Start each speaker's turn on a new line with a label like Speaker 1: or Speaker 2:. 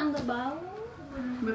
Speaker 1: bawah